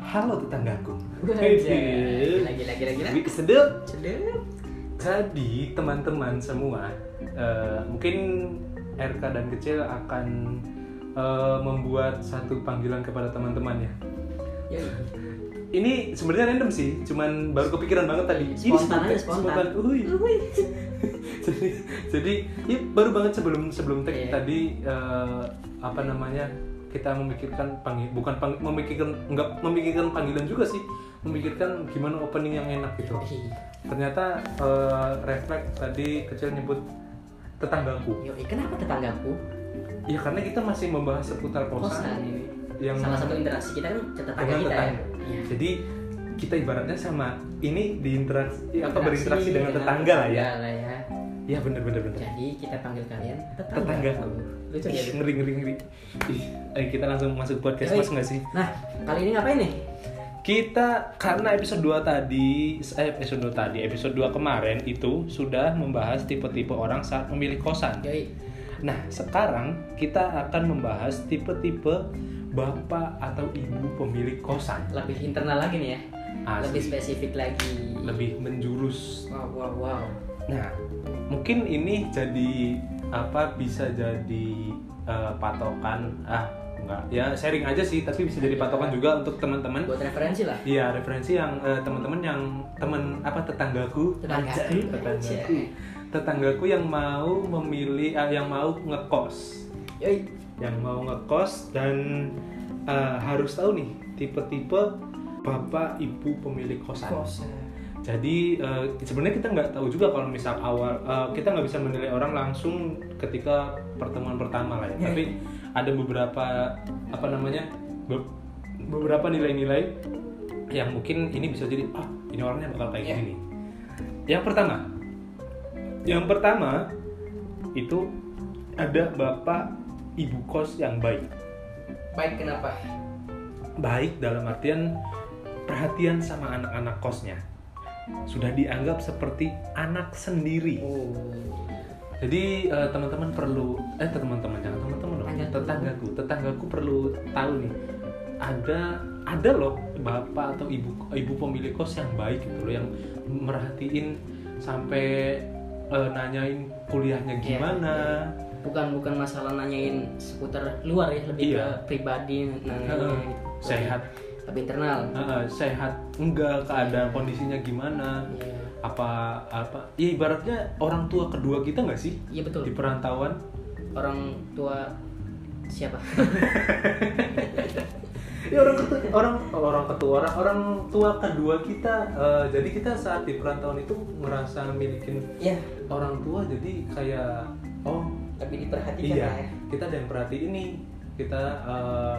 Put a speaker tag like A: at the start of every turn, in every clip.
A: halo tetanggaku
B: Gila, gila, gila, gila.
A: Wih, kesedot.
B: Celup.
A: Jadi teman-teman semua, eh, mungkin RK dan kecil akan eh, membuat satu panggilan kepada teman-temannya.
B: Yoi.
A: Ini sebenarnya random sih, cuman baru kepikiran banget tadi. Ini
B: Spontan aja, spontan.
A: Uhuy. jadi, jadi ya, baru banget sebelum sebelum tag
B: Iya.
A: tadi eh, apa namanya kita memikirkan panggil bukan pang- memikirkan nggak memikirkan panggilan juga sih, memikirkan gimana opening yang enak gitu
B: Iya.
A: ternyata eh, refleks tadi kecil nyebut tetanggaku
B: Yoi, kenapa tetanggaku?
A: ya karena kita masih membahas seputar
B: Kosan
A: kosan
B: ini.
A: yang
B: Salah satu interaksi kita kan tetangga
A: dengan
B: kita ya.
A: tetangga
B: Iya.
A: jadi kita ibaratnya sama ini diinteraksi Iya, apa
B: Interaksi
A: berinteraksi dengan tetangga lah ya
B: tetangga lah ya.
A: ya bener bener bener
B: Jadi kita panggil kalian
A: Tetanggaku.
B: Lucu
A: Ih,
B: ya. Dit?
A: ngeri ngeri ngeri Ih, ayo kita langsung masuk podcast
B: Yoi.
A: mas nggak sih
B: Nah, kali ini ngapain nih?
A: kita karena episode 2 tadi eh, episode 2 tadi episode 2 kemarin itu sudah membahas tipe-tipe orang saat memilih kosan
B: Yoi.
A: Nah, sekarang kita akan membahas tipe-tipe bapak atau ibu pemilik kosan.
B: Lebih internal lagi nih ya. Lebih
A: Asli,
B: spesifik lagi.
A: lebih menjurus.
B: Wow, wow, wow.
A: Nah, mungkin ini jadi apa bisa jadi eh, patokan ah enggak ya sharing aja sih tapi bisa jadi patokan juga untuk teman-teman
B: Buat referensi lah.
A: Iya referensi yang eh, teman-teman yang teman apa tetanggaku
B: Tetanggaku.
A: Anjay, tetanggaku tetanggaku yang mau memilih ah, yang mau ngekos
B: Yoi.
A: yang mau ngekos dan eh, harus tahu nih tipe-tipe bapak ibu pemilik kosan. Jadi eh, sebenarnya kita nggak tahu juga kalau misal awal eh, kita nggak bisa menilai orang langsung ketika pertemuan pertama lah ya.
B: Ya,
A: Tapi ada beberapa apa namanya be- beberapa nilai-nilai yang mungkin ini bisa jadi ah ini orangnya bakal kayak
B: Ya.
A: gini nih. Yang pertama, yang pertama itu ada bapak ibu kos yang baik
B: Baik kenapa?
A: baik dalam artian perhatian sama anak-anak kosnya sudah dianggap seperti anak sendiri.
B: Oh.
A: Jadi eh, teman-teman perlu eh teman-teman jangan teman-teman loh
B: Tetanggaku.
A: tetanggaku tetanggaku perlu tahu nih ada ada loh bapak atau ibu ibu pemilik kos yang baik gitu loh yang merhatiin sampai eh, nanyain kuliahnya
B: Iya,
A: gimana.
B: Bukan bukan masalah nanyain seputar luar ya, lebih
A: Iya.
B: ke pribadi nanyain
A: Heeh.
B: gitu.
A: Sehat,
B: Tapi internal.
A: eh, sehat enggak keadaan kondisinya gimana?
B: Iya.
A: apa apa ya ibaratnya orang tua kedua kita nggak sih
B: Iya betul.
A: di perantauan
B: Orang tua siapa?
A: ya orang ketua orang orang ketua orang, orang tua kedua kita eh, jadi kita saat di perantauan itu ngerasa milikin
B: Iya,
A: orang tua jadi kayak oh
B: lebih diperhatikan
A: iya
B: lah ya.
A: kita ada yang perhatiin nih kita eh,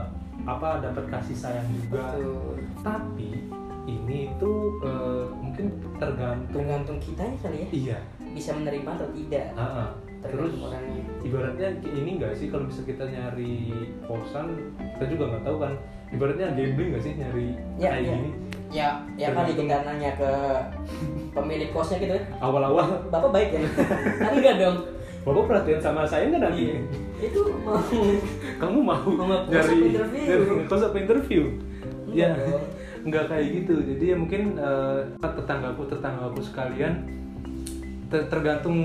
A: apa dapat kasih sayang juga
B: Betul.
A: tapi ini tuh eh, mungkin tergantung
B: Tergantung kitanya kali ya,
A: iya
B: bisa menerima atau tidak.
A: ah, ah. terus
B: Tergantung orangnya.
A: ibaratnya ini nggak sih kalau bisa kita nyari kosan kita juga nggak tahu kan ibaratnya gambling nggak sih nyari
B: Ya,
A: kayak
B: ya.
A: gini
B: Ya, ya kali kita nanya ke pemilik kosnya gitu ya.
A: awal-awal
B: Bapak baik ya? Kan enggak dong.
A: bapak perhatian sama saya nggak nanti
B: Iya. Itu mau
A: kamu mau
B: Mau nggak kos
A: nyari
B: apa interview? Iya.
A: nyari kos apa interview ya
B: Enggak dong.
A: nggak kayak gitu jadi ya mungkin eh, tetanggaku tetanggaku sekalian ter- tergantung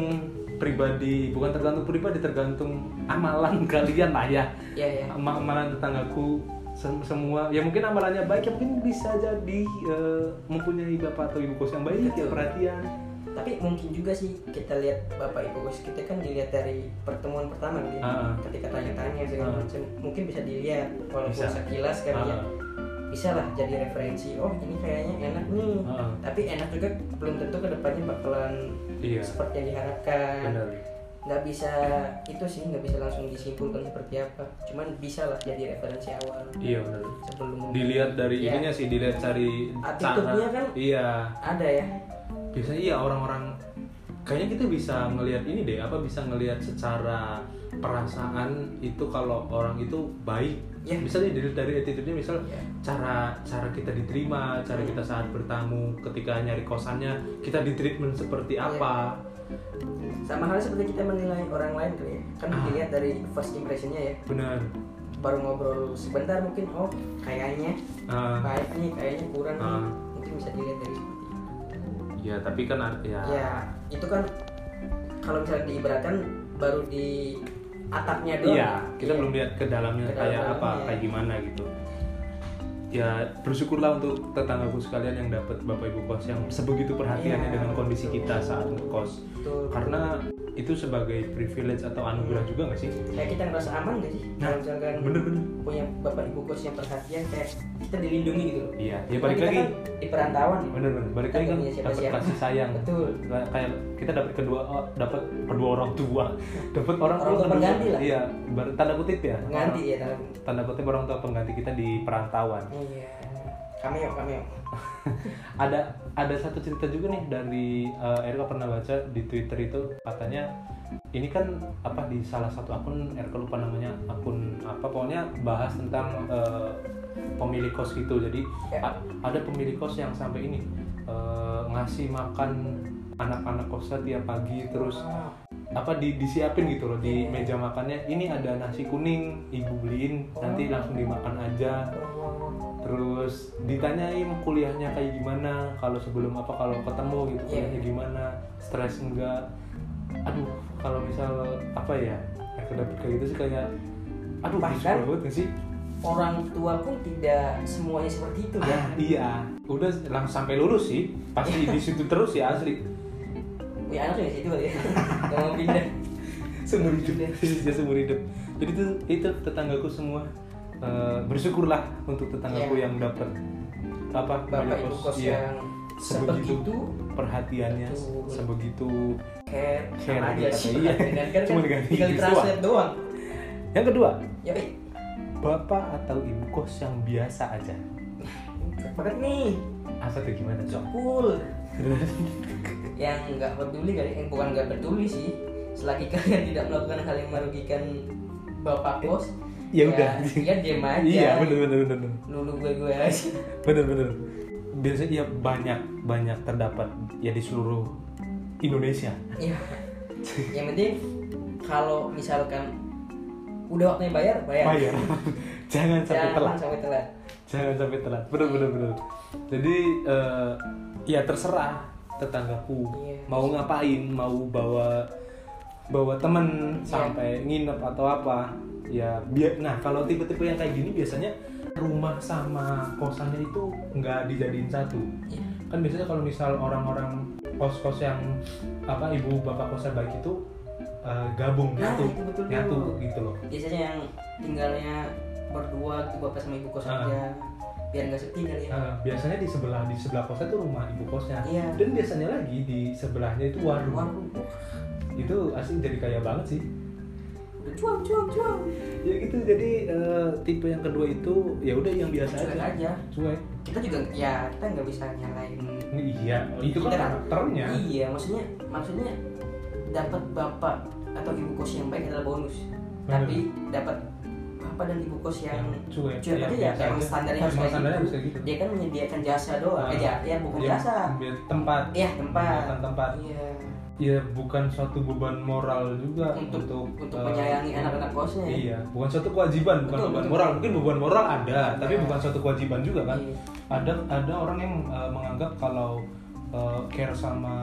A: pribadi bukan tergantung pribadi tergantung amalan kalian lah ya
B: Ya ya.
A: Ama- amalan tetanggaku sem- semua ya mungkin amalannya baik ya mungkin bisa jadi eh, mempunyai bapak atau ibu kos yang baik ya perhatian
C: tapi mungkin juga sih kita lihat bapak ibu bos kita kan dilihat dari pertemuan pertama gitu ya.
A: Ah, ah.
C: ketika tanya-tanya segala
A: Ah.
C: macam mungkin bisa dilihat walaupun
A: Bisa. Ah.
C: sekilas kan ya bisa lah jadi referensi oh ini kayaknya enak nih
A: Ah, ah.
C: tapi enak juga belum tentu kedepannya bakalan
A: iya
C: seperti yang diharapkan
A: benar
C: nggak bisa itu sih nggak bisa langsung disimpulkan seperti apa cuman bisa lah jadi referensi awal
A: iya benar
C: sebelum
A: dilihat dari
C: Iya.
A: ininya sih dilihat dari
C: Attitude-nya kan-
A: iya
C: ada ya
A: biasanya iya orang-orang kayaknya kita bisa ngelihat ini deh apa bisa ngelihat secara perasaan itu kalau orang itu baik
C: Iya.
A: misalnya dari dari attitude-nya misal
C: Iya.
A: cara cara kita diterima cara kita saat bertamu ketika nyari kosannya kita di treatment seperti
C: Iya.
A: apa
C: sama halnya seperti kita menilai orang lain kali ya kan
A: Ah.
C: dilihat dari first impressionnya ya
A: benar
C: baru ngobrol sebentar mungkin oh kayaknya
A: Ah,
C: baik nih kayaknya kurang nih.
A: Ah.
C: mungkin bisa dilihat dari seperti itu.
A: ya tapi kan ar- ya,
C: ya itu kan kalau misalnya diibaratkan baru di atapnya doang
A: Iya, kita belum lihat ke dalamnya
C: Ke iya.
A: kayak
C: dalam-dalamnya.
A: apa, kayak gimana gitu. Ya bersyukurlah untuk tetanggaku sekalian yang dapat bapak ibu kos yang sebegitu perhatiannya
C: Iya,
A: ya dengan kondisi
C: betul.
A: kita saat ngekos.
C: betul
A: Karena itu sebagai privilege atau anugerah juga nggak sih?
C: kayak kita ngerasa aman gak sih
A: Nah,
C: kalau misalkan
A: Bener-bener.
C: punya bapak ibu kos yang perhatian kayak kita dilindungi gitu loh
A: Iya, ya
C: Cuma
A: balik
C: kita
A: lagi.
C: kan di perantauan ya.
A: Bener-bener. Balik
C: Kita
A: lagi kan
C: punya
A: dapat
C: siapa-siapa.
A: kasih sayang.
C: betul
A: Kayak kayak kita dapat kedua oh, dapat kedua orang tua, dapat orang,
C: Orang tua
A: kedua.
C: pengganti lah.
A: Iya, ibarat- tanda kutip ya.
C: pengganti ya dalam
A: Tanda kutip orang tua pengganti kita di perantauan.
C: iya cameo cameo
A: ada ada satu cerita juga nih dari eh, Erka pernah baca di Twitter itu katanya ini kan apa di salah satu akun Erka lupa namanya akun apa pokoknya bahas tentang eh, pemilik kos gitu jadi
C: Ya.
A: a- ada pemilik kos yang sampai ini eh, ngasih makan anak-anak kosnya tiap pagi terus
C: Ah,
A: apa di- disiapin gitu loh di
C: Iya.
A: meja makannya ini ada nasi kuning ibu beliin
C: Oh.
A: nanti langsung dimakan aja
C: Eh,
A: terus ditanyain kuliahnya kayak gimana kalau sebelum apa kalau ketemu gitu
C: Iya.
A: kuliahnya gimana stres enggak aduh kalau misal apa ya yang kedapet kayak gitu sih kayak aduh
C: Bahkan-
A: bisul banget nggak sih
C: orang tua pun tidak semuanya seperti itu
A: ah,
C: kan
A: iya udah langsung sampai lurus sih pasti di situ terus ya asli
C: punya anak juga di situ kali ya nggak mau pindah
A: seumur hidup Sisa seumur hidup jadi itu itu tetanggaku semua Eh, bersyukurlah untuk tetanggaku
C: Iya.
A: yang dapat apa
C: bapak ibu
A: iya.
C: kos ya.
A: gitu.
C: yang seperti
A: Sebegitu.
C: itu
A: perhatiannya
C: Betul.
A: sebegitu
C: care
A: Care
C: sama aja
A: gitu,
C: sih
A: iya.
C: dan kan
A: Cuma
C: kan
A: diganti gitu
C: tinggal
A: Inggris
C: translate doang
A: Yang kedua,
C: ya eh,
A: bapak atau ibu kos yang biasa aja.
C: cocok banget nih
A: Apa tuh gimana, Cok?
C: cool yang nggak peduli kali yang bukan nggak peduli sih selagi kalian tidak melakukan hal yang merugikan bapak bos
A: Ya udah.
C: ya diem aja
A: iya, bener bener bener bener.
C: lulu gue gue aja
A: bener bener. Biasanya ya banyak banyak terdapat ya di seluruh Indonesia.
C: ya yang penting kalau misalkan udah waktunya bayar bayar,
A: Bayar. Jangan sampai
C: Jangan
A: telat.
C: sampai telat
A: Jangan sampai telat. Bener bener bener. Jadi eh, ya terserah tetanggaku
C: Iya.
A: mau ngapain, mau bawa bawa temen
C: Iya.
A: sampai nginep atau apa ya biar nah kalau tipe-tipe yang kayak gini biasanya rumah sama kosannya itu nggak dijadiin satu
C: Iya.
A: kan biasanya kalau misal orang-orang kos-kos yang apa ibu bapak kosnya baik itu eh, gabung
C: Nah,
A: nyatu
C: itu betul.
A: nyatu gitu loh
C: biasanya yang tinggalnya berdua tuh bapak sama ibu kos
A: Ah.
C: aja biar nggak sepi kali ya
A: Eh, biasanya di sebelah di sebelah kosnya tuh rumah ibu kosnya
C: iya
A: dan biasanya lagi di sebelahnya itu warung
C: warung
A: itu asli jadi kaya banget sih
C: udah cuang cuang cuang
A: ya gitu jadi eh, tipe yang kedua itu ya udah yang biasa
C: cuek
A: aja
C: aja
A: cuek
C: kita juga ya kita nggak bisa nyalain
A: iya itu kan
C: Kita-
A: karakternya
C: iya maksudnya maksudnya dapat bapak atau ibu kos yang baik adalah bonus tapi dapat bapak dan ibu kos yang
A: yang Ya, cuek
C: cuek aja ya, emang standarnya harus
A: harus
C: kayak
A: standarnya
C: gitu.
A: harus kayak gitu
C: dia kan menyediakan jasa doang
A: Ah.
C: aja ya bukan
A: Dia-
C: jasa
A: biar tempat
C: ya tempat
A: menyediakan tempat
C: iya
A: ya bukan suatu beban moral juga
C: Untuk- untuk
A: eh,
C: menyayangi anak-anak kosnya ya.
A: iya bukan suatu kewajiban bukan
C: Betul,
A: beban
C: betul.
A: moral mungkin beban moral ada tapi
C: Iya.
A: bukan suatu kewajiban juga kan
C: Iya.
A: ada ada orang yang eh, menganggap kalau eh, care sama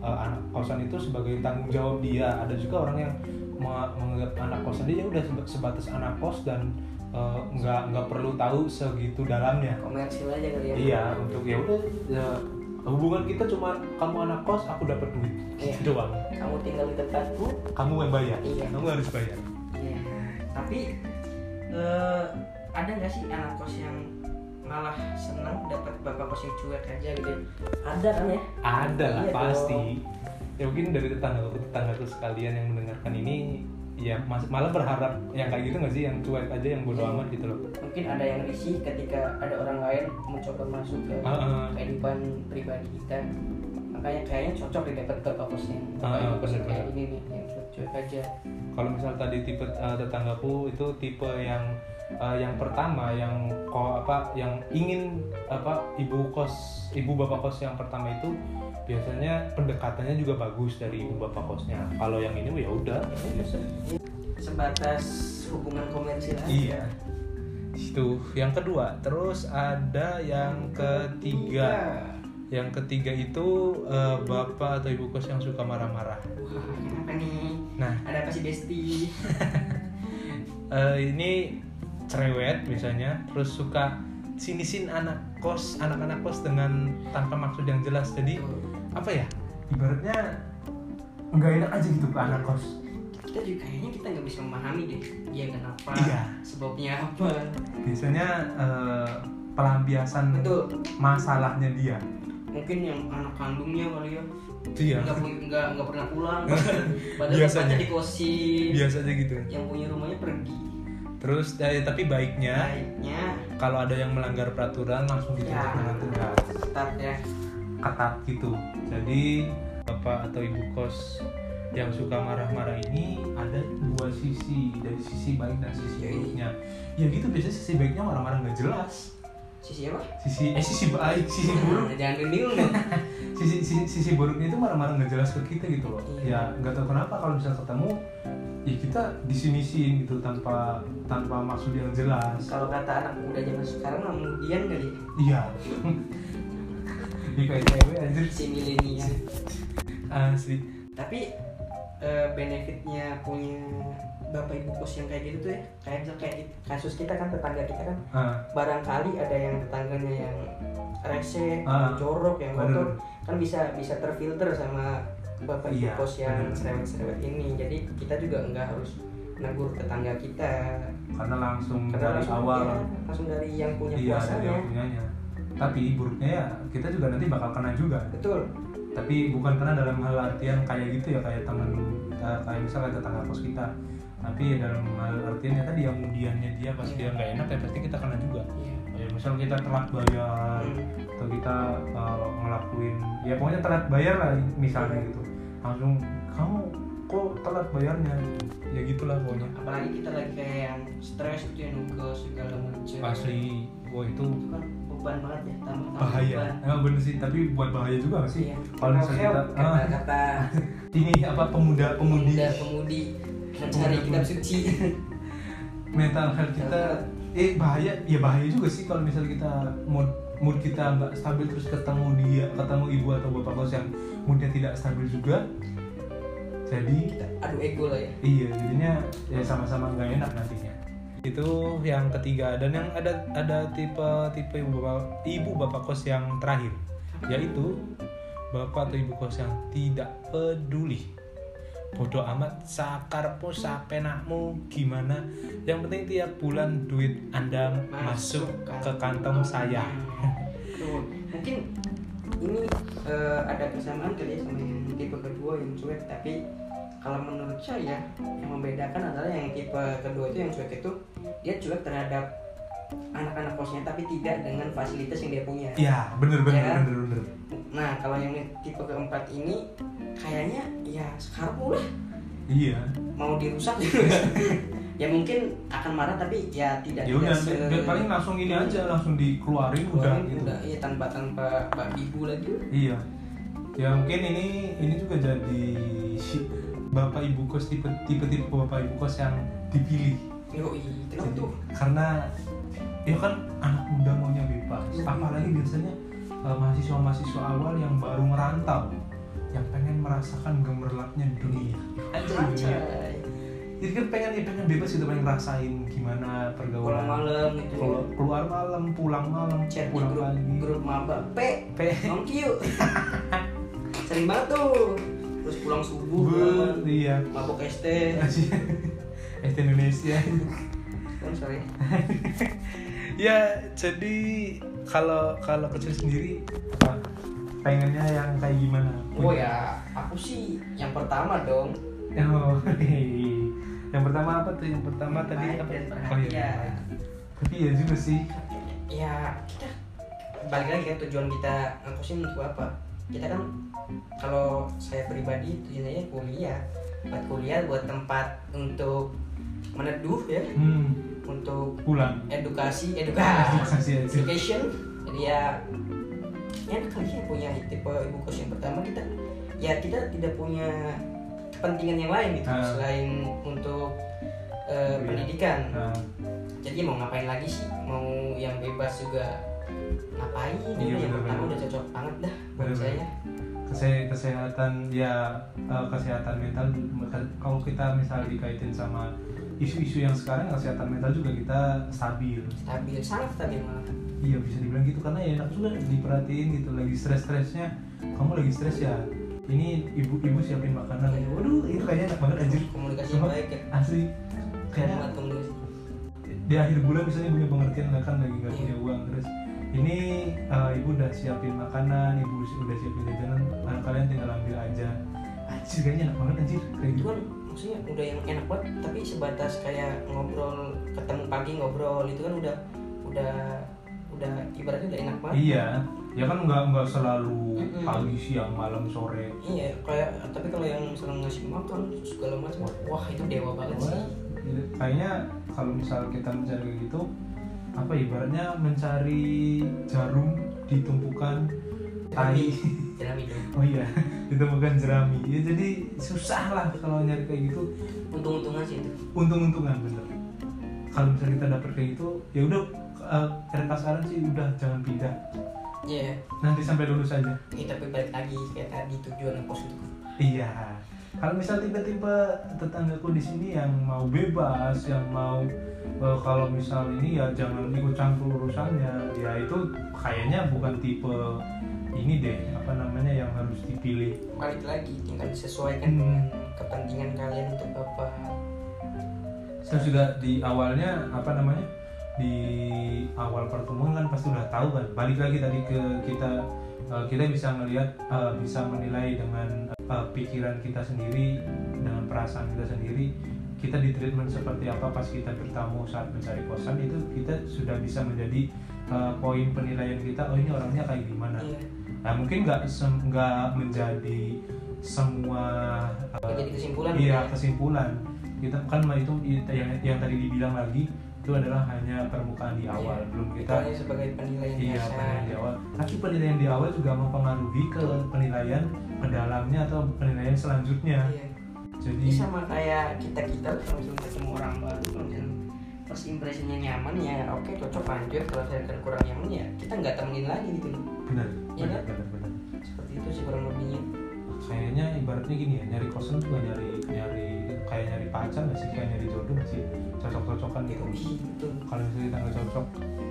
A: eh, anak kosan itu sebagai tanggung jawab dia ada juga orang yang me- menganggap anak kosan dia ya udah seba- sebatas anak kos dan eh, nggak nggak perlu tahu segitu dalamnya
C: komersil aja kali ya
A: iya untuk ya udah ya, hubungan kita cuma kamu anak kos aku dapat duit
C: Iya.
A: Gitu doang
C: kamu tinggal di tempatku
A: kamu yang bayar
C: Iya.
A: kamu harus bayar
C: Iya. Tapi eh, ada nggak sih anak kos yang malah senang dapat bapak kos yang cuek aja gitu? Ada kan ya?
A: ada lah
C: Iya
A: pasti ya mungkin dari tetangga tetangga tuh sekalian yang mendengarkan ini ya mas- malah berharap yang kayak gitu nggak sih yang cuek aja yang bodo amat gitu loh
C: Mungkin ada yang risih ketika ada orang lain mencoba masuk ke
A: Heeh.
C: kehidupan pribadi kita. Makanya kayaknya cocok deh dapat bapak kos yang bapak
A: Ah,
C: ibu kos yang
A: bener-bener.
C: kayak ini nih yang cuek-cuek aja.
A: kalau misal tadi tipe eh, tetanggaku itu tipe yang eh, yang pertama yang ko apa yang ingin apa ibu kos ibu bapak kos yang pertama itu biasanya pendekatannya juga bagus dari ibu bapak kosnya kalau yang ini ya udah
C: sebatas hubungan komersil aja.
A: Iya. Itu yang kedua. Terus ada yang ketiga. Yang ketiga itu eh, bapak atau ibu kos yang suka marah-marah.
C: Wah, kenapa nih?
A: Nah,
C: Ada apa sih Besti?
A: eh, ini cerewet misalnya, terus suka sinisin anak kos, anak-anak kos dengan tanpa maksud yang jelas. Jadi apa ya? Ibaratnya nggak enak aja gitu ke anak kos.
C: kita juga kayaknya kita nggak bisa memahami deh dia kenapa
A: Iya.
C: sebabnya apa
A: Biasanya eh, pelampiasan
C: betul
A: masalahnya dia.
C: mungkin yang anak kandungnya kali ya
A: Iya.
C: nggak pu- nggak nggak pernah pulang padahal
A: Biasanya.
C: tempatnya di kosin
A: Biasanya gitu.
C: yang punya rumahnya pergi
A: Terus eh, tapi baiknya
C: baiknya
A: kalau ada yang melanggar peraturan langsung ditindak
C: Ya.
A: dengan tegas,
C: tetap ya
A: ketat gitu. Jadi bapak atau ibu kos yang suka marah-marah ini ada dua sisi dari sisi baik dan sisi
C: Yoi.
A: buruknya. Ya gitu biasanya sisi baiknya marah-marah nggak jelas.
C: sisi apa
A: Sisi eh sisi baik, sisi buruk,
C: Nah, jangan bingung deh
A: sisi sisi, sisi buruknya itu marah-marah nggak jelas ke kita gitu loh.
C: Iya.
A: Ya nggak tahu kenapa kalau bisa ketemu ya kita disinisin gitu tanpa tanpa maksud yang jelas.
C: kalau kata anak muda zaman sekarang mah kemudian kali ya.
A: Iya. Di kayak cewek Ah, anjir
C: si milenial
A: asli.
C: tapi eh, benefitnya punya bapak ibu kos yang kayak gitu tuh ya kayak misal kayak gitu, kasus kita kan tetangga kita kan
A: Ah,
C: barangkali ada yang tetangganya yang rese,
A: Ah.
C: jorok, yang
A: Bener.
C: kotor kan bisa bisa terfilter sama bapak ibu
A: Iya,
C: kos yang
A: bener.
C: cerewet-cerewet ini jadi kita juga nggak harus negur tetangga kita
A: karena langsung dari
C: Karena langsung-
A: awal
C: ya, langsung dari yang punya ya.
A: iya dari
C: kuasanya
A: yang punyanya. Tapi buruknya ya kita juga nanti bakal kena juga.
C: betul
A: Tapi bukan kena dalam hal artian kayak gitu ya kayak teman eh, kayak misalnya tetangga kos kita. Tapi ya dalam hal artian ya tadi yang kemudiannya dia
C: Iya.
A: pas dia nggak enak ya pasti kita kena juga. Kayak misal kita telat bayar
C: Hmm.
A: atau kita eh, ngelakuin ya pokoknya telat bayar lah misalnya gitu langsung kamu kok telat bayarnya ya gitulah pokoknya
C: apalagi kita lagi kayak yang stres gitu yang nugas segala macam
A: asli wah itu
C: itu kan beban banget ya tambah tambah
A: bahaya emang bener sih tapi buat bahaya juga nggak sih
C: Iya.
A: kalau misalnya kita
C: kata
A: ah,
C: kata
A: ini apa pemuda pemudi
C: pemuda pemudi mencari
A: Pemuda-pemudi.
C: kitab suci
A: mental health kita eh bahaya ya bahaya juga sih kalau misal kita mood mood kita nggak stabil terus ketemu dia ketemu ibu atau bapak kos yang moodnya tidak stabil juga jadi
C: adu ego lah ya
A: Iya, jadinya ya sama-sama nggak enak nantinya. Itu yang ketiga dan yang ada ada tipe tipe ibu bapak, ibu bapak kos yang terakhir, yaitu bapak atau ibu kos yang tidak peduli. Bodoh amat, sakarpo sapenakmu gimana? Yang penting tiap bulan duit Anda masuk, ke kantong saya.
C: Tuh, mungkin ini eh, ada kesamaan kali ya sama yang tipe kedua yang cuek tapi kalau menurut saya yang membedakan adalah yang tipe kedua itu yang cuek itu dia cuek terhadap anak-anak kosnya tapi tidak dengan fasilitas yang dia punya.
A: Ya, bener bener
C: Ya.
A: bener bener.
C: Nah kalau yang tipe keempat ini kayaknya ya sekarang lah
A: Iya.
C: mau dirusak gitu. ya mungkin akan marah tapi ya tidak
A: Ya
C: tidak
A: udah,
C: se-
A: biar paling langsung ini aja langsung dikeluarin udah
C: Keluarin
A: gitu.
C: udah iya tanpa tanpa mbak ibu lagi
A: Iya. Ya mungkin ini ini juga jadi si- bapak ibu kos tipe tipe tipe bapak ibu kos yang dipilih.
C: Yoi, kenapa
A: Jadi,
C: tuh?
A: Karena ya kan anak muda maunya bebas.
C: Iya.
A: Apalagi biasanya eh, mahasiswa-mahasiswa awal yang baru merantau yang pengen merasakan gemerlapnya
C: Iya.
A: dunia. Iya.
C: Anjay.
A: Jadi kan pengen ya pengen bebas gitu pengen ngerasain gimana
C: Pulang
A: pergaulan.
C: malam gitu.
A: Keluar, keluar malam, pulang malam,
C: Chat di
A: pulang
C: grup
A: pagi.
C: grup maba. P,
A: Pe-
C: nongkiu. Sering banget tuh. Terus pulang
A: Be-
C: subuh, pulang
A: iya.
C: malam. mabok es teh.
A: Eh Indonesia.
C: Kan sore.
A: ya jadi kalau kalau kecil sendiri apa pengennya yang kayak gimana
C: Oh ya, aku sih yang pertama dong.
A: Oh, hei. yang pertama apa tuh yang pertama tadi
C: Baik
A: apa
C: dan
A: oh iya
C: perhatian.
A: baik. tapi ya juga sih
C: Ya, kita balik lagi kan tujuan kita ngakusin untuk apa? Kita kan kalau saya pribadi tujuannya kuliah. Buat kuliah buat tempat untuk meneduh ya,
A: hmm
C: untuk
A: pulang
C: edukasi edukasi
A: kasih aja
C: education jadi ya enak kali ya punya tipe ibu kos yang pertama kita ya kita tidak punya kepentingan yang lain gitu
A: Ah.
C: selain untuk eh,
A: Iya.
C: pendidikan
A: Nah,
C: jadi mau ngapain lagi sih mau yang bebas juga ngapain
A: Iya,
C: gitu yang
A: benar-benar.
C: pertama udah cocok banget dah buat
A: Benar-benar.
C: saya
A: kese- kesehatan ya eh, kesehatan mental maka- kalau kita misal dikaitin sama isu-isu yang sekarang kesehatan mental juga kita stabil
C: stabil sangat stabil malah
A: iya bisa dibilang gitu karena ya aku juga diperhatiin gitu lagi stres-stresnya kamu lagi stres ya ini ibu-ibu siapin makanan waduh itu kayaknya enak banget anjir
C: komunikasi yang
A: Apa?
C: baik ya
A: asli
C: Keren
A: kayak
C: banget komunikasi
A: di akhir bulan misalnya punya pengertian lah kan lagi nggak
C: Iya.
A: punya uang terus ini eh, ibu udah siapin makanan ibu udah siapin jajanan anak kalian tinggal ambil aja anjir kayaknya enak banget anjir kayak
C: itu
A: gitu
C: kan maksudnya udah yang enak banget tapi sebatas kayak ngobrol ketemu pagi ngobrol itu kan udah udah udah ibaratnya udah enak banget
A: iya ya kan nggak nggak selalu
C: Mm-mm.
A: pagi siang malam sore
C: iya kayak tapi kalau yang misalnya ngasih makan segala macam wah itu dewa banget sih
A: Wah, kayaknya kalau misal kita mencari kayak gitu apa ibaratnya mencari jarum ditumpukan tai
C: dalam hidup
A: oh iya ditemukan jerami ya jadi susah lah kalau nyari kayak gitu
C: untung-untungan sih itu
A: untung-untungan bener kalau misalnya kita dapet kayak gitu ya udah eh, keren pasaran sih udah jangan pindah
C: iya
A: nanti sampai lulus aja
C: Eh, tapi balik lagi kayak tadi tujuan aku itu
A: iya kalau misal tiba-tiba tetanggaku di sini yang mau bebas yang mau eh, kalau misal ini ya jangan ikut campur urusannya ya itu kayaknya bukan tipe ini deh apa namanya yang harus dipilih
C: balik lagi tinggal disesuaikan
A: Hmm. Nah.
C: dengan kepentingan kalian untuk apa
A: terus juga di awalnya apa namanya di awal pertemuan kan pasti udah tahu kan balik lagi tadi ke kita eh, kita bisa melihat bisa menilai dengan eh, pikiran kita sendiri dengan perasaan kita sendiri kita di treatment seperti apa pas kita bertamu saat mencari kosan itu kita sudah bisa menjadi eh, poin penilaian kita oh ini orangnya kayak gimana
C: iya
A: nah mungkin nggak sem- nggak menjadi semua
C: jadi kesimpulan
A: Iya
C: gitu ya.
A: kesimpulan kita kan itu yang yang tadi dibilang lagi itu adalah hanya permukaan di awal
C: Iya.
A: belum kita
C: Kita sebagai penilaian
A: iya
C: dasar.
A: penilaian di awal tapi penilaian di awal juga mempengaruhi ke penilaian pendalamnya atau penilaian selanjutnya
C: Iya.
A: jadi
C: Ini sama kayak kita kita kalau misalnya ketemu orang baru kalau misalnya first impressionnya nyaman ya oke cocok lanjut kalau misalnya kurang nyaman ya kita nggak temenin lagi gitu loh
A: benar
C: Iya
A: benar
C: kan?
A: benar benar
C: seperti itu sih kurang lebihnya
A: kayaknya ibaratnya gini ya nyari kosan juga nyari nyari kayak nyari pacar nggak sih kayak nyari jodoh nggak sih cocok cocokan gitu
C: gitu
A: kalau misalnya kita nggak cocok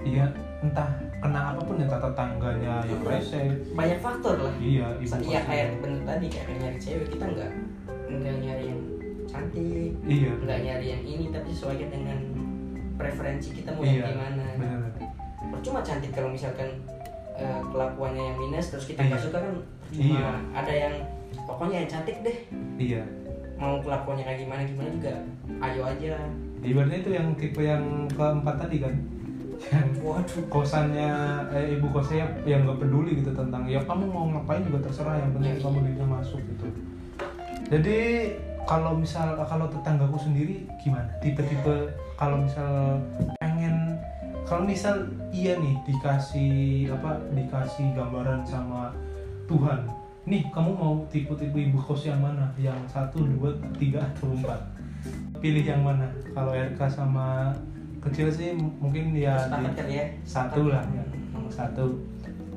A: iya entah kena apapun entah tetangganya yang rese
C: banyak faktor lah
A: iya ibu
C: Sa- iya
A: kosnya.
C: kayak bener tadi kayak nyari cewek kita nggak nggak nyari yang cantik
A: iya
C: nggak nyari yang ini tapi sesuaikan dengan preferensi kita mau
A: Iya,
C: yang gimana
A: benar
C: percuma cantik kalau misalkan eh, kelakuannya yang minus terus kita nggak
A: Iya.
C: suka kan percuma
A: Iya.
C: ada yang pokoknya yang cantik deh
A: iya
C: mau kelakuannya kayak gimana gimana juga ayo aja
A: ibaratnya itu yang tipe yang keempat tadi kan yang
C: waduh
A: kosannya eh, ibu kosnya yang nggak peduli gitu tentang ya kamu mau ngapain juga terserah yang penting
C: Iya.
A: kamu duitnya masuk gitu jadi kalau misal kalau tetanggaku sendiri gimana tipe-tipe kalau misal pengen kalau misal iya nih dikasih apa dikasih gambaran sama Tuhan nih kamu mau tipe-tipe ibu kos yang mana yang satu dua tiga atau empat pilih yang mana kalau RK sama kecil sih m- mungkin ya
C: sepakat
A: di-
C: kan ya
A: satu lah ya. nomor satu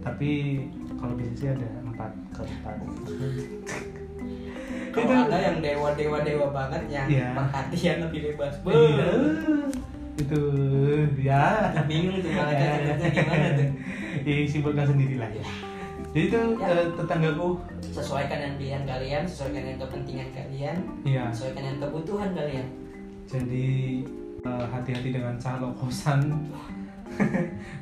A: tapi kalau bisa sih ada empat keempat
C: kalau ada yang dewa dewa dewa banget yang
A: Iya.
C: perhatian lebih bebas Be-
A: Iya. itu ya
C: bingung tuh malah cantiknya gimana tuh
A: ya simpulkan sendiri lah ya jadi itu
C: Ya.
A: eh, tetanggaku
C: sesuaikan dengan pilihan kalian sesuaikan dengan kepentingan kalian
A: ya
C: sesuaikan dengan kebutuhan kalian
A: jadi eh, hati-hati dengan calo kosan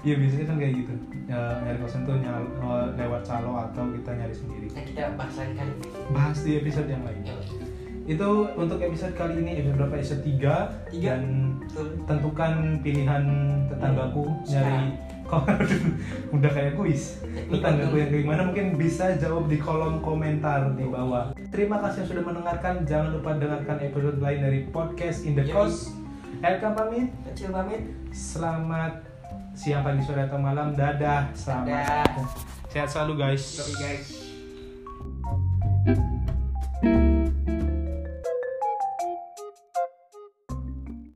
A: Iya biasanya kan kayak gitu Eh, nyari kosan tuh nyal- eh, lewat calo atau kita nyari sendiri
C: nah kita bahasakan kali ini.
A: bahas di episode yang lain
C: Yoi.
A: itu untuk episode kali ini episode berapa episode 3
C: Tiga.
A: dan
C: betul
A: tentukan pilihan tetanggaku
C: Iya.
A: nyari Kok- udah kayak kuis tetanggaku yang kayak gimana mungkin bisa jawab di kolom komentar di bawah terima kasih yang sudah mendengarkan jangan lupa dengarkan episode lain dari podcast in the
C: Yoi.
A: coast Elka pamit
C: kecil pamit
A: selamat siang pagi sore atau malam dadah selamat
C: Dadah.
A: sehat selalu guys
C: Sorry guys